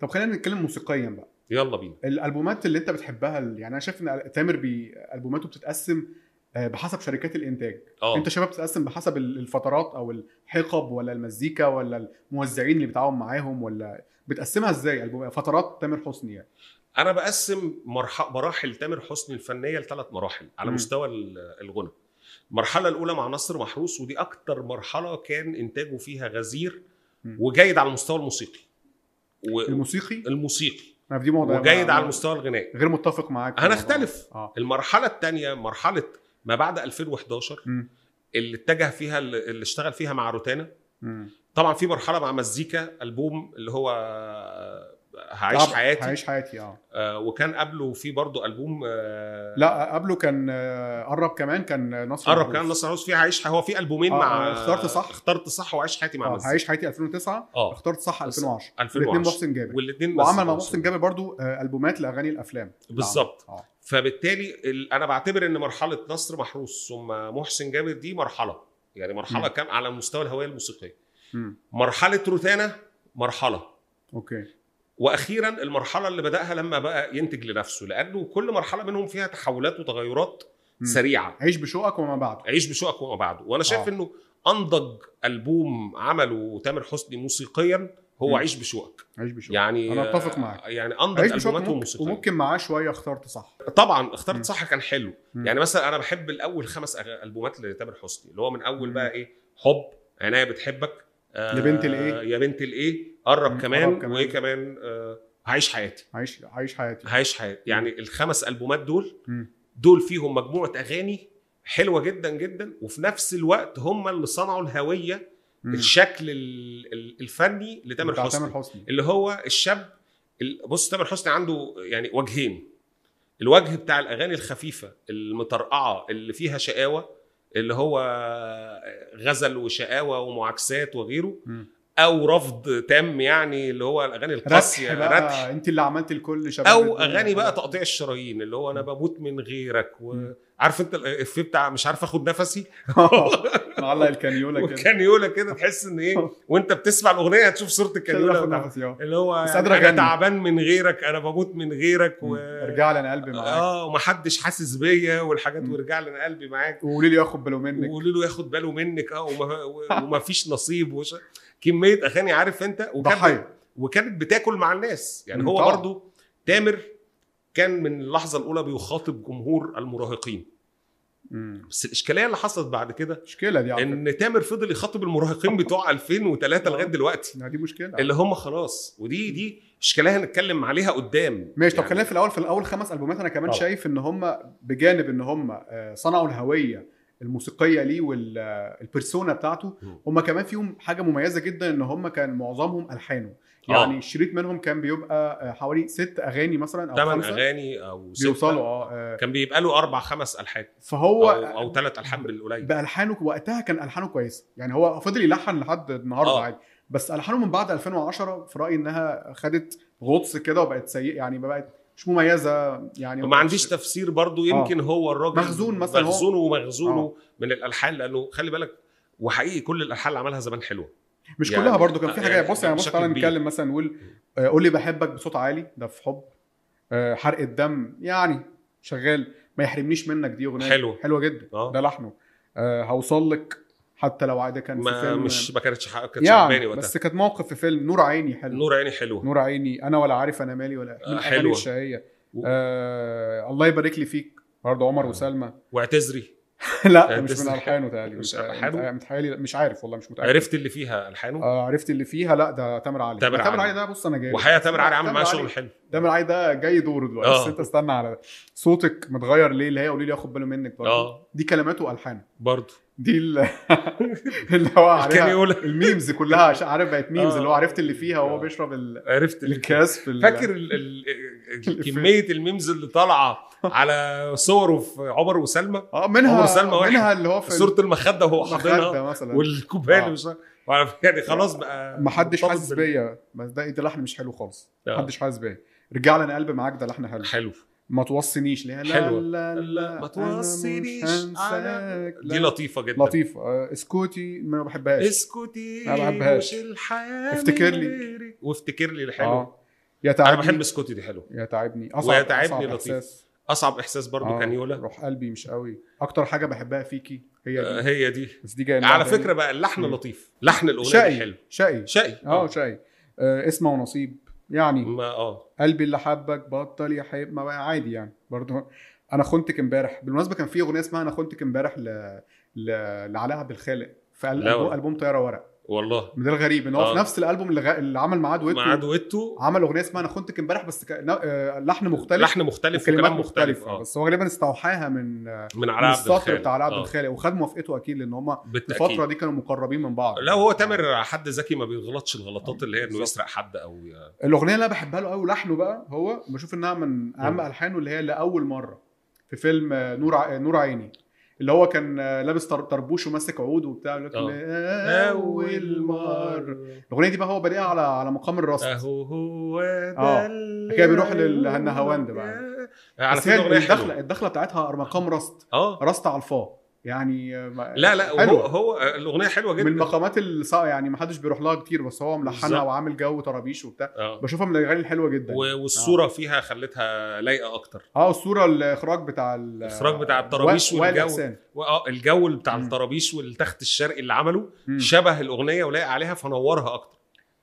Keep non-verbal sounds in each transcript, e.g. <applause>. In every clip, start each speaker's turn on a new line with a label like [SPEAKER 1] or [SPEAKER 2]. [SPEAKER 1] طب خلينا نتكلم موسيقيا بقى
[SPEAKER 2] يلا بينا
[SPEAKER 1] الالبومات اللي انت بتحبها ال- يعني انا شايف ان تامر بي البوماته بتتقسم آه، بحسب شركات الانتاج
[SPEAKER 2] اه
[SPEAKER 1] انت شباب بتتقسم بحسب ال- الفترات او الحقب ولا المزيكا ولا الموزعين اللي بتعاون معاهم ولا بتقسمها ازاي البوم فترات تامر حسني يعني
[SPEAKER 2] انا بقسم مرح... مراحل تامر حسني الفنيه لثلاث مراحل على
[SPEAKER 1] مم.
[SPEAKER 2] مستوى ال- الغنى المرحله الاولى مع نصر محروس ودي اكتر مرحله كان انتاجه فيها غزير
[SPEAKER 1] مم.
[SPEAKER 2] وجيد على المستوى الموسيقي و...
[SPEAKER 1] الموسيقي
[SPEAKER 2] الموسيقي
[SPEAKER 1] انا في دي موضوع
[SPEAKER 2] وجيد
[SPEAKER 1] ما-
[SPEAKER 2] آه. على مستوى الغنائي
[SPEAKER 1] غير متفق معاك
[SPEAKER 2] هنختلف.
[SPEAKER 1] اه
[SPEAKER 2] المرحله الثانيه مرحله ما بعد 2011
[SPEAKER 1] مم.
[SPEAKER 2] اللي اتجه فيها اللي اشتغل فيها مع روتانا
[SPEAKER 1] مم.
[SPEAKER 2] طبعا في مرحله مع مزيكا البوم اللي هو آه، هعيش
[SPEAKER 1] طب-
[SPEAKER 2] حياتي
[SPEAKER 1] هعيش حياتي اه
[SPEAKER 2] آه، وكان قبله في برضه البوم آه،
[SPEAKER 1] لا قبله كان آه، قرب كمان كان نصر
[SPEAKER 2] قرب
[SPEAKER 1] محروس.
[SPEAKER 2] كان نصر عروس فيها عايش هو في البومين
[SPEAKER 1] آه،
[SPEAKER 2] مع
[SPEAKER 1] آه، اخترت صح.
[SPEAKER 2] اخترت صح وعايش حياتي مع
[SPEAKER 1] آه،
[SPEAKER 2] مزيكا
[SPEAKER 1] هعيش حياتي 2009
[SPEAKER 2] اه
[SPEAKER 1] اخترت صح 2010 الاثنين
[SPEAKER 2] 2010
[SPEAKER 1] محسن جابر
[SPEAKER 2] والاثنين
[SPEAKER 1] وعمل مع محسن جابر برضو آه، البومات لاغاني الافلام
[SPEAKER 2] بالظبط
[SPEAKER 1] اه
[SPEAKER 2] فبالتالي ال- انا بعتبر ان مرحله نصر محروس ثم محسن جابر دي مرحله يعني مرحله
[SPEAKER 1] مم.
[SPEAKER 2] كام على مستوى الهويه الموسيقيه
[SPEAKER 1] مم.
[SPEAKER 2] مرحله روتانا مرحله
[SPEAKER 1] اوكي
[SPEAKER 2] واخيرا المرحله اللي بداها لما بقى ينتج لنفسه لانه كل مرحله منهم فيها تحولات وتغيرات
[SPEAKER 1] مم.
[SPEAKER 2] سريعه
[SPEAKER 1] عيش بشوقك وما بعده
[SPEAKER 2] عيش بشوقك وما بعده وانا شايف
[SPEAKER 1] آه.
[SPEAKER 2] انه انضج البوم عمله تامر حسني موسيقيا هو
[SPEAKER 1] مم.
[SPEAKER 2] عيش بشوقك
[SPEAKER 1] عيش بشوقك
[SPEAKER 2] يعني
[SPEAKER 1] أنا أتفق معاك.
[SPEAKER 2] يعني انضج
[SPEAKER 1] عيش بشوقك
[SPEAKER 2] البوماته
[SPEAKER 1] ممكن
[SPEAKER 2] الموسيقيه
[SPEAKER 1] وممكن معاه شويه اخترت صح
[SPEAKER 2] طبعا اخترت
[SPEAKER 1] مم.
[SPEAKER 2] صح كان حلو
[SPEAKER 1] مم.
[SPEAKER 2] يعني مثلا انا بحب الاول خمس أغ- البومات لتامر حسني اللي هو من اول
[SPEAKER 1] مم.
[SPEAKER 2] بقى ايه حب عناية بتحبك آه
[SPEAKER 1] يا بنت الإيه؟
[SPEAKER 2] يا بنت الايه قرب
[SPEAKER 1] مم.
[SPEAKER 2] كمان,
[SPEAKER 1] قرب كمان.
[SPEAKER 2] وايه كمان آه هعيش حياتي
[SPEAKER 1] عيش عيش حياتي
[SPEAKER 2] هعيش حياتي يعني الخمس البومات دول
[SPEAKER 1] مم.
[SPEAKER 2] دول فيهم مجموعه اغاني حلوه جدا جدا وفي نفس الوقت هم اللي صنعوا الهويه
[SPEAKER 1] مم.
[SPEAKER 2] الشكل ال- ال- الفني لتامر
[SPEAKER 1] بتاع
[SPEAKER 2] حسني
[SPEAKER 1] تامر حسني
[SPEAKER 2] اللي هو الشاب ال- بص تامر حسني عنده يعني وجهين الوجه بتاع الاغاني الخفيفه المطرقعه اللي فيها شقاوه اللي هو غزل وشقاوه ومعاكسات وغيره
[SPEAKER 1] مم.
[SPEAKER 2] او رفض تام يعني اللي هو الاغاني القاسيه
[SPEAKER 1] رتح بقى
[SPEAKER 2] ردح
[SPEAKER 1] انت اللي عملت الكل شباب
[SPEAKER 2] او
[SPEAKER 1] الدنيا. <laughs>
[SPEAKER 2] اغاني بقى تقطيع الشرايين اللي هو انا بموت من غيرك وعارف انت الافيه بتاع مش عارف اخد نفسي
[SPEAKER 1] معلق آه. الكانيولا كده
[SPEAKER 2] والكانيولا كده تحس
[SPEAKER 1] <laughs>
[SPEAKER 2] ان ايه وانت بتسمع الاغنيه هتشوف صوره
[SPEAKER 1] كانيولا اخد
[SPEAKER 2] الكانيولا
[SPEAKER 1] نفسي اه
[SPEAKER 2] اللي هو
[SPEAKER 1] بس
[SPEAKER 2] يعني
[SPEAKER 1] قادر
[SPEAKER 2] انا
[SPEAKER 1] أغني.
[SPEAKER 2] تعبان من غيرك انا بموت من غيرك و...
[SPEAKER 1] ارجع لي انا قلبي معاك
[SPEAKER 2] اه ومحدش حاسس بيا والحاجات
[SPEAKER 1] مم.
[SPEAKER 2] وارجع لي انا قلبي معاك
[SPEAKER 1] وقولي لي ياخد باله منك
[SPEAKER 2] وقولوا له ياخد باله منك اه وما... <laughs> و- ومفيش نصيب وش... كميه اغاني عارف انت وكانت
[SPEAKER 1] ضحيه
[SPEAKER 2] وكانت بتاكل مع الناس يعني
[SPEAKER 1] مم،
[SPEAKER 2] هو
[SPEAKER 1] طبعا.
[SPEAKER 2] برضو تامر كان من اللحظه الاولى بيخاطب جمهور المراهقين
[SPEAKER 1] مم.
[SPEAKER 2] بس الاشكاليه اللي حصلت بعد كده
[SPEAKER 1] مشكله دي على فكرة.
[SPEAKER 2] ان تامر فضل يخاطب
[SPEAKER 1] <laughs>
[SPEAKER 2] المراهقين بتوع 2003 لغايه
[SPEAKER 1] آه. نعم.
[SPEAKER 2] دلوقتي
[SPEAKER 1] ما دي مشكله
[SPEAKER 2] اللي هم خلاص ودي دي اشكاليه هنتكلم عليها قدام
[SPEAKER 1] ماشي طب
[SPEAKER 2] يعني آه.
[SPEAKER 1] خلينا في الاول في الاول خمس البومات انا كمان
[SPEAKER 2] طبعا.
[SPEAKER 1] شايف ان هم بجانب ان هم آه، صنعوا الهويه الموسيقيه ليه والبيرسونا بتاعته
[SPEAKER 2] مم.
[SPEAKER 1] هم كمان فيهم حاجه مميزه جدا ان هم كان معظمهم الحانه
[SPEAKER 2] آه.
[SPEAKER 1] يعني الشريط منهم كان بيبقى آه، حوالي ست اغاني مثلا او
[SPEAKER 2] تمن
[SPEAKER 1] خمسة
[SPEAKER 2] اغاني او ستة.
[SPEAKER 1] بيوصلوا اه آه،
[SPEAKER 2] كان بيبقى له اربع خمس الحان
[SPEAKER 1] فهو
[SPEAKER 2] او او ثلاث الحان بالقليل
[SPEAKER 1] بالحانه وقتها كان الحانه كويسه يعني هو فضل يلحن لحد النهارده
[SPEAKER 2] آه.
[SPEAKER 1] عادي بس الحانه من بعد 2010 في رايي انها خدت غطس كده وبقت سيئه يعني بقت مش مميزه يعني آه.
[SPEAKER 2] ما عنديش تفسير برضو يمكن هو الراجل
[SPEAKER 1] مخزون مثلاً هو- آه.
[SPEAKER 2] مخزون ومخزونه من الالحان لانه خلي بالك وحقيقي كل الالحان اللي عملها زمان حلوه
[SPEAKER 1] مش
[SPEAKER 2] يعني-
[SPEAKER 1] كلها برضو كان في
[SPEAKER 2] يعني
[SPEAKER 1] حاجه بص يعني بص
[SPEAKER 2] بشكل
[SPEAKER 1] تعالى
[SPEAKER 2] كبير.
[SPEAKER 1] نتكلم مثلا نقول آه، قول لي بحبك بصوت عالي ده في حب آه، حرق الدم يعني شغال ما يحرمنيش منك دي اغنيه
[SPEAKER 2] حلوة.
[SPEAKER 1] حلوه جدا
[SPEAKER 2] اه
[SPEAKER 1] ده لحنه آه، هوصل لك حتى لو عادي كان في
[SPEAKER 2] ما
[SPEAKER 1] فيلم
[SPEAKER 2] مش ما كانتش حق- كانت شباني
[SPEAKER 1] يعني
[SPEAKER 2] وقتها
[SPEAKER 1] بس كانت موقف في فيلم نور عيني حلو نور,
[SPEAKER 2] نور عيني حلوه
[SPEAKER 1] نور عيني انا ولا عارف انا مالي ولا
[SPEAKER 2] آه،
[SPEAKER 1] من الاغاني
[SPEAKER 2] حلوة.
[SPEAKER 1] الشهيه
[SPEAKER 2] و-
[SPEAKER 1] آه الله يبارك لي فيك برضه عمر
[SPEAKER 2] آه.
[SPEAKER 1] وسلمى <laughs>
[SPEAKER 2] واعتذري
[SPEAKER 1] لا مش من
[SPEAKER 2] تسرح.
[SPEAKER 1] الحانه تقريبا مش
[SPEAKER 2] مش ألحانه؟
[SPEAKER 1] متهيألي مش عارف والله مش متاكد
[SPEAKER 2] عرفت اللي فيها الحانه
[SPEAKER 1] طيب. آه عرفت اللي فيها لا ده تامر علي
[SPEAKER 2] تامر
[SPEAKER 1] تامر
[SPEAKER 2] علي.
[SPEAKER 1] علي, علي ده بص انا جاي
[SPEAKER 2] وحقيقه تامر علي عامل معاه شغل حلو
[SPEAKER 1] تامر علي ده جاي دوره دلوقتي
[SPEAKER 2] آه.
[SPEAKER 1] بس انت استنى على ده صوتك متغير ليه اللي هي قولي لي ياخد باله منك برضه
[SPEAKER 2] اه
[SPEAKER 1] دي كلماته والحانه
[SPEAKER 2] برضه
[SPEAKER 1] دي ال- <laughs> اللي هو
[SPEAKER 2] كان
[SPEAKER 1] عارفها
[SPEAKER 2] يقول
[SPEAKER 1] الميمز كلها ش- عارف بقت ميمز
[SPEAKER 2] آه.
[SPEAKER 1] اللي هو عرفت اللي فيها
[SPEAKER 2] آه.
[SPEAKER 1] وهو بيشرب ال-
[SPEAKER 2] عرفت اللي
[SPEAKER 1] الكاس في ال-
[SPEAKER 2] فاكر ال ال ال- كميه الميمز اللي طالعه على صوره في عمر وسلمى
[SPEAKER 1] اه منها
[SPEAKER 2] عمر سلمى واحد.
[SPEAKER 1] منها اللي هو في
[SPEAKER 2] صوره المخده وهو حاططها
[SPEAKER 1] المخدة مثلا
[SPEAKER 2] والكوبايه اللي
[SPEAKER 1] آه.
[SPEAKER 2] مش عارف- يعني خلاص بقى
[SPEAKER 1] ما حدش
[SPEAKER 2] مرتبط
[SPEAKER 1] حاسس
[SPEAKER 2] بال-
[SPEAKER 1] بيا بس ده إيه؟ ده لحن مش حلو خالص
[SPEAKER 2] آه.
[SPEAKER 1] ما حدش حاسس بيا رجع لي انا قلبي معاك ده لحن حلو
[SPEAKER 2] حلو
[SPEAKER 1] ما توصينيش ليه
[SPEAKER 2] حلوة.
[SPEAKER 1] لا
[SPEAKER 2] لا،
[SPEAKER 1] لا
[SPEAKER 2] ما
[SPEAKER 1] أنا مش
[SPEAKER 2] توصينيش على-
[SPEAKER 1] هنساك
[SPEAKER 2] دي إيه؟
[SPEAKER 1] لا.
[SPEAKER 2] لطيفه جدا
[SPEAKER 1] لطيفه آه، اسكوتي ما بحبهاش
[SPEAKER 2] اسكتي
[SPEAKER 1] ما بحبهاش.
[SPEAKER 2] مش الحياه
[SPEAKER 1] افتكر
[SPEAKER 2] من
[SPEAKER 1] لي.
[SPEAKER 2] غيرك. وافتكر لي الحلو
[SPEAKER 1] اه
[SPEAKER 2] انا
[SPEAKER 1] يتعبني
[SPEAKER 2] بحب سكوتي دي حلو
[SPEAKER 1] يتعبني
[SPEAKER 2] ويتعبني
[SPEAKER 1] أصعب
[SPEAKER 2] لطيف.
[SPEAKER 1] إحساس.
[SPEAKER 2] اصعب احساس برضو
[SPEAKER 1] آه،
[SPEAKER 2] آه. كانيولا
[SPEAKER 1] روح قلبي مش قوي اكتر حاجه بحبها فيكي هي
[SPEAKER 2] آه،
[SPEAKER 1] دي.
[SPEAKER 2] هي دي
[SPEAKER 1] بس دي جايه من
[SPEAKER 2] على
[SPEAKER 1] واحدة
[SPEAKER 2] فكره بقى اللحن
[SPEAKER 1] مم.
[SPEAKER 2] لطيف لحن
[SPEAKER 1] يعني.
[SPEAKER 2] الاغنيه دي
[SPEAKER 1] شقي
[SPEAKER 2] حلو
[SPEAKER 1] شقي
[SPEAKER 2] شقي
[SPEAKER 1] اه شقي آه، اسمه ونصيب يعني
[SPEAKER 2] ما اه
[SPEAKER 1] قلبي اللي حبك بطل يحب ما بقى عادي يعني برضه انا خنتك امبارح بالمناسبه كان في اغنيه اسمها انا خنتك امبارح ل... ل... لعلاء عبد الخالق في
[SPEAKER 2] لا
[SPEAKER 1] البوم,
[SPEAKER 2] والله.
[SPEAKER 1] ألبوم طياره ورق
[SPEAKER 2] والله
[SPEAKER 1] ده الغريب ان هو في
[SPEAKER 2] آه.
[SPEAKER 1] نفس الالبوم اللي, غ... اللي عمل معاه دويتو
[SPEAKER 2] مع دويتو
[SPEAKER 1] عمل اغنيه اسمها انا خنتك امبارح بس ك... نا- آه، لحن مختلف
[SPEAKER 2] لحن مختلف وكلام مختلف
[SPEAKER 1] مختلفة.
[SPEAKER 2] اه
[SPEAKER 1] بس هو غالبا استوحاها من آه،
[SPEAKER 2] من
[SPEAKER 1] من
[SPEAKER 2] علاء عبد
[SPEAKER 1] السطر
[SPEAKER 2] الخالق
[SPEAKER 1] بتاع علاء عبد
[SPEAKER 2] آه،
[SPEAKER 1] الخالق وخد موافقته اكيد لان هم الفتره
[SPEAKER 2] بالتاكيد
[SPEAKER 1] دي كانوا مقربين من بعض آه،
[SPEAKER 2] لا هو تامر حد ذكي ما بيغلطش الغلطات اللي هي انه
[SPEAKER 1] بالظبط.
[SPEAKER 2] يسرق حد او
[SPEAKER 1] الاغنيه اللي انا بحبها له قوي لحنه بقى هو بشوف انها من اهم
[SPEAKER 2] مم.
[SPEAKER 1] الحانه اللي هي لاول مره في فيلم آه، نور ع... آه، نور عيني اللي هو كان آه، لابس طر- طربوش وماسك عود وبتاع يقول لك
[SPEAKER 2] آه.
[SPEAKER 1] لاول مره الاغنيه دي بقى هو بادئها على على مقام الرصد
[SPEAKER 2] اهو هو
[SPEAKER 1] آه.
[SPEAKER 2] ده اللي
[SPEAKER 1] كده بيروح للهنهاوند بقى.
[SPEAKER 2] على
[SPEAKER 1] بس هي
[SPEAKER 2] فكره اغنيه
[SPEAKER 1] الدخله
[SPEAKER 2] حلوه
[SPEAKER 1] الدخله بتاعتها مقام رصد
[SPEAKER 2] اه
[SPEAKER 1] رصد على الفا يعني آه، ما-
[SPEAKER 2] لا لا هو
[SPEAKER 1] حلوة.
[SPEAKER 2] هو الاغنيه حلوه
[SPEAKER 1] من
[SPEAKER 2] جدا
[SPEAKER 1] المقامات اللي صا- يعني ما حدش بيروح لها كتير بس هو ملحنها
[SPEAKER 2] بالظبط.
[SPEAKER 1] وعامل جو طرابيش وبتاع
[SPEAKER 2] آه.
[SPEAKER 1] بشوفها من الاغاني الحلوه جدا
[SPEAKER 2] و- والصوره فيها خلتها لايقه اكتر
[SPEAKER 1] اه الصوره الاخراج بتاع ال-
[SPEAKER 2] الإخراج بتاع الطرابيش
[SPEAKER 1] و-
[SPEAKER 2] والجو.
[SPEAKER 1] وائل إحسان.
[SPEAKER 2] واه الجو بتاع
[SPEAKER 1] مم.
[SPEAKER 2] الطرابيش والتخت الشرقي اللي عمله
[SPEAKER 1] مم.
[SPEAKER 2] شبه الاغنيه ولايق عليها فنورها اكتر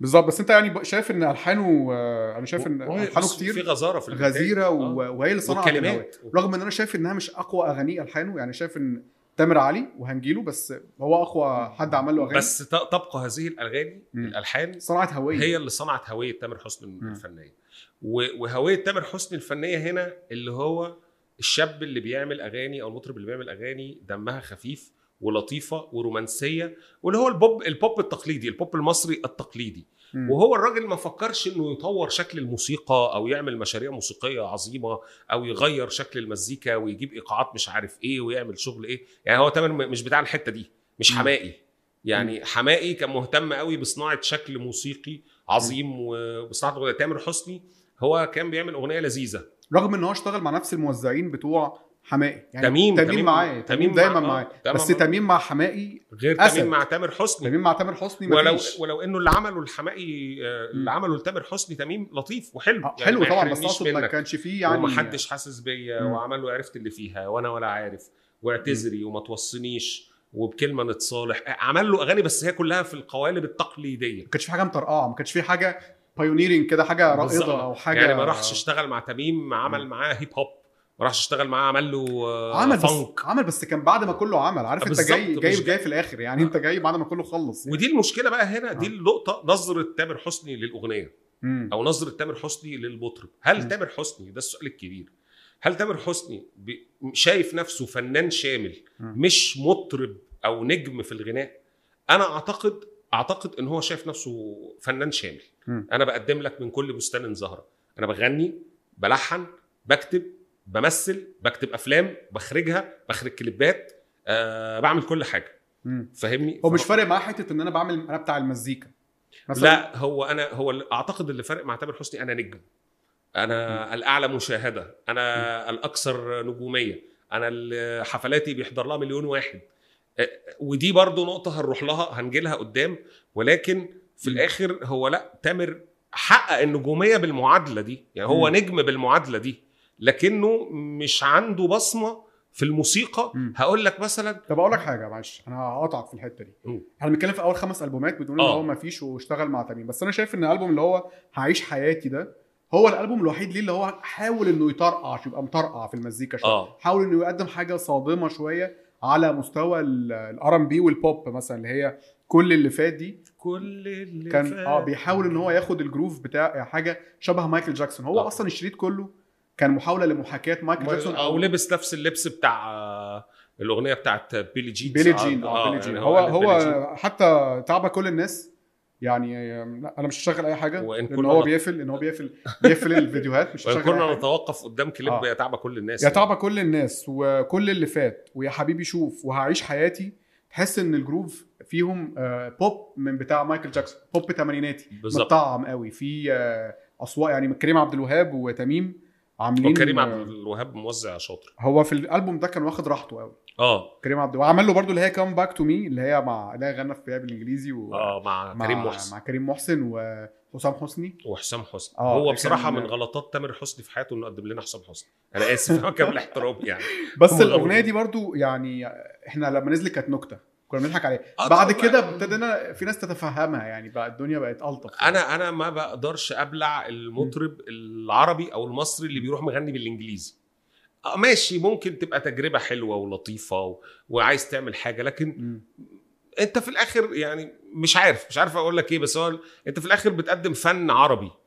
[SPEAKER 1] بالظبط بس انت يعني ب- شايف ان الحانه آه، انا شايف ان
[SPEAKER 2] و-
[SPEAKER 1] الحانه
[SPEAKER 2] بص، في
[SPEAKER 1] كتير
[SPEAKER 2] غزاره في البداية.
[SPEAKER 1] غزيره و-
[SPEAKER 2] آه.
[SPEAKER 1] وهي اللي صنعت الهوا.
[SPEAKER 2] والكلمات
[SPEAKER 1] رغم ان انا شايف انها مش اقوى اغاني الحانه يعني شايف ان تامر علي وهنجيله بس هو اقوى حد عمل له اغاني
[SPEAKER 2] بس ت- تبقى هذه الاغاني
[SPEAKER 1] مم.
[SPEAKER 2] الالحان
[SPEAKER 1] صنعت هويه
[SPEAKER 2] هي اللي صنعت هويه تامر حسني
[SPEAKER 1] مم.
[SPEAKER 2] الفنيه و- وهويه تامر حسني الفنيه هنا اللي هو الشاب اللي بيعمل اغاني او المطرب اللي بيعمل اغاني دمها خفيف ولطيفه ورومانسيه واللي هو البوب البوب التقليدي البوب المصري التقليدي
[SPEAKER 1] مم.
[SPEAKER 2] وهو الراجل ما فكرش انه يطور شكل الموسيقى او يعمل مشاريع موسيقيه عظيمه او يغير شكل المزيكا ويجيب ايقاعات مش عارف ايه ويعمل شغل ايه يعني هو تامر م- مش بتاع الحته دي مش
[SPEAKER 1] مم.
[SPEAKER 2] حمائي يعني حمائي كان مهتم قوي بصناعه شكل موسيقي عظيم وبصناعه الأغنية. تامر حسني هو كان بيعمل اغنيه لذيذه
[SPEAKER 1] رغم ان هو اشتغل مع نفس الموزعين بتوع حماقي يعني
[SPEAKER 2] تميم
[SPEAKER 1] تميم معاه تميم دايما
[SPEAKER 2] آه،
[SPEAKER 1] معاه
[SPEAKER 2] دايماً
[SPEAKER 1] بس
[SPEAKER 2] معاه.
[SPEAKER 1] تميم مع حماقي
[SPEAKER 2] غير
[SPEAKER 1] أسد.
[SPEAKER 2] تميم مع تامر حسني
[SPEAKER 1] تميم مع تامر حسني
[SPEAKER 2] ولو
[SPEAKER 1] مفيش
[SPEAKER 2] ولو انه اللي عمله الحمائي آه،
[SPEAKER 1] مم.
[SPEAKER 2] اللي عمله لتامر حسني تميم لطيف وحلو
[SPEAKER 1] آه،
[SPEAKER 2] يعني
[SPEAKER 1] حلو
[SPEAKER 2] ما
[SPEAKER 1] طبعا بس
[SPEAKER 2] يحرمنيش
[SPEAKER 1] اقصد ما
[SPEAKER 2] منك.
[SPEAKER 1] كانش فيه
[SPEAKER 2] يعني
[SPEAKER 1] يعني
[SPEAKER 2] ومحدش حاسس بيا
[SPEAKER 1] مم.
[SPEAKER 2] وعمله عرفت اللي فيها وانا ولا عارف واعتذري وما توصنيش وبكلمه نتصالح عمل له اغاني بس هي كلها في القوالب التقليديه
[SPEAKER 1] ما كانش في حاجه مطرقعه آه، ما كانش في حاجه بايونيرنج كده حاجه
[SPEAKER 2] بالظبط.
[SPEAKER 1] رائده او حاجه
[SPEAKER 2] يعني ما راحش اشتغل مع تميم عمل معاه هيب هوب ما راحش اشتغل معاه عمل له آه،
[SPEAKER 1] عمل
[SPEAKER 2] فانك
[SPEAKER 1] بس عمل بس كان بعد ما كله عمل عارف انت
[SPEAKER 2] بالظبط،
[SPEAKER 1] جاي
[SPEAKER 2] مش
[SPEAKER 1] جاي
[SPEAKER 2] جاي.
[SPEAKER 1] جاي في الاخر يعني انت جاي بعد ما كله خلص يعني.
[SPEAKER 2] ودي المشكله بقى هنا دي
[SPEAKER 1] آه.
[SPEAKER 2] النقطه نظره تامر حسني للاغنيه
[SPEAKER 1] مم.
[SPEAKER 2] او نظره تامر حسني للمطرب
[SPEAKER 1] مم.
[SPEAKER 2] هل تامر حسني ده السؤال الكبير هل تامر حسني بي- شايف نفسه فنان شامل
[SPEAKER 1] مم.
[SPEAKER 2] مش مطرب او نجم في الغناء انا اعتقد اعتقد ان هو شايف نفسه فنان شامل
[SPEAKER 1] مم.
[SPEAKER 2] انا بقدم لك من كل بستان زهره انا بغني بلحن بكتب بمثل بكتب افلام بخرجها بخرج كليبات أه بعمل كل حاجه
[SPEAKER 1] مم.
[SPEAKER 2] فاهمني
[SPEAKER 1] هو مش فارق معاه حته ان انا بعمل انا بتاع المزيكا مثلا
[SPEAKER 2] لا هو انا هو اللي- اعتقد اللي فارق مع تامر حسني انا نجم انا الاعلى مشاهده انا الاكثر نجوميه انا ال- حفلاتي بيحضر لها مليون واحد أ- ودي برضو نقطه هنروح لها هنجي لها قدام ولكن في
[SPEAKER 1] م.
[SPEAKER 2] الاخر هو لا تامر حقق النجوميه بالمعادله دي يعني هو
[SPEAKER 1] م.
[SPEAKER 2] نجم بالمعادله دي لكنه مش عنده بصمه في الموسيقى
[SPEAKER 1] م.
[SPEAKER 2] هقول لك مثلا
[SPEAKER 1] طب اقول لك حاجه معلش انا هقطعك في الحته دي
[SPEAKER 2] مم.
[SPEAKER 1] احنا بنتكلم في اول خمس البومات بتقول ان
[SPEAKER 2] آه.
[SPEAKER 1] هو ما فيش واشتغل مع تميم بس انا شايف ان الالبوم اللي هو هعيش حياتي ده هو الالبوم الوحيد ليه اللي هو حاول انه يطرقع يبقى مطرقع في المزيكا شويه
[SPEAKER 2] اه
[SPEAKER 1] حاول انه يقدم حاجه صادمه شويه على مستوى الار ام بي والبوب مثلا اللي هي كل اللي فات دي
[SPEAKER 2] كل اللي
[SPEAKER 1] كان
[SPEAKER 2] فات.
[SPEAKER 1] اه بيحاول ان هو ياخد الجروف بتاع حاجه شبه مايكل جاكسون هو
[SPEAKER 2] آه.
[SPEAKER 1] اصلا الشريط كله كان محاوله لمحاكاه مايكل جاكسون
[SPEAKER 2] او لبس نفس اللبس بتاع آه، الاغنيه بتاعت بيلي آه، يعني جين
[SPEAKER 1] بيلي جين اه بيلي جين هو هو حتى تعبى كل الناس يعني لا، انا مش هشغل اي حاجه
[SPEAKER 2] وإن
[SPEAKER 1] لان
[SPEAKER 2] كنا
[SPEAKER 1] هو
[SPEAKER 2] نت-
[SPEAKER 1] بيقفل ان هو بيقفل بيقفل الفيديوهات مش هشغل
[SPEAKER 2] كنا
[SPEAKER 1] أي حاجة.
[SPEAKER 2] نتوقف قدام كليب
[SPEAKER 1] آه.
[SPEAKER 2] يا تعبى كل الناس
[SPEAKER 1] يا تعبى كل الناس وكل اللي فات ويا حبيبي شوف وهعيش حياتي تحس ان الجروف فيهم آه، بوب من بتاع مايكل جاكسون بوب تمانيناتي
[SPEAKER 2] يعني. بالظبط
[SPEAKER 1] مطعم قوي في آه، اصوات يعني كريم عبد الوهاب وتميم عاملين
[SPEAKER 2] وكريم
[SPEAKER 1] آه،
[SPEAKER 2] عبد الوهاب موزع شاطر
[SPEAKER 1] هو في الالبوم ده كان واخد راحته قوي
[SPEAKER 2] اه
[SPEAKER 1] كريم عبد وعمل له برضو اللي هي كام باك تو مي اللي هي مع اللي هي غنى فيها بالانجليزي و...
[SPEAKER 2] اه مع
[SPEAKER 1] مع
[SPEAKER 2] كريم محسن
[SPEAKER 1] مع كريم محسن وحسين حسام حسني
[SPEAKER 2] وحسام حسني
[SPEAKER 1] آه،
[SPEAKER 2] هو
[SPEAKER 1] كان-
[SPEAKER 2] بصراحه من غلطات تامر حسني في حياته انه قدم لنا حسام حسني انا <laughs> اسف كامل الاحترام يعني
[SPEAKER 1] بس
[SPEAKER 2] هم
[SPEAKER 1] الاغنيه
[SPEAKER 2] الأول.
[SPEAKER 1] دي برضو يعني احنا لما نزلت كانت نكته كنا بنضحك عليها
[SPEAKER 2] آه،
[SPEAKER 1] بعد
[SPEAKER 2] طبعاً.
[SPEAKER 1] كده ابتدينا في ناس تتفهمها يعني بقى الدنيا بقت الطف
[SPEAKER 2] انا انا ما بقدرش ابلع المطرب العربي او المصري اللي بيروح مغني بالانجليزي آه، ماشي ممكن تبقى تجربه حلوه ولطيفه و... وعايز تعمل حاجه لكن
[SPEAKER 1] مم.
[SPEAKER 2] انت في الاخر يعني مش عارف مش عارف اقول لك ايه بس هو انت في الاخر بتقدم فن عربي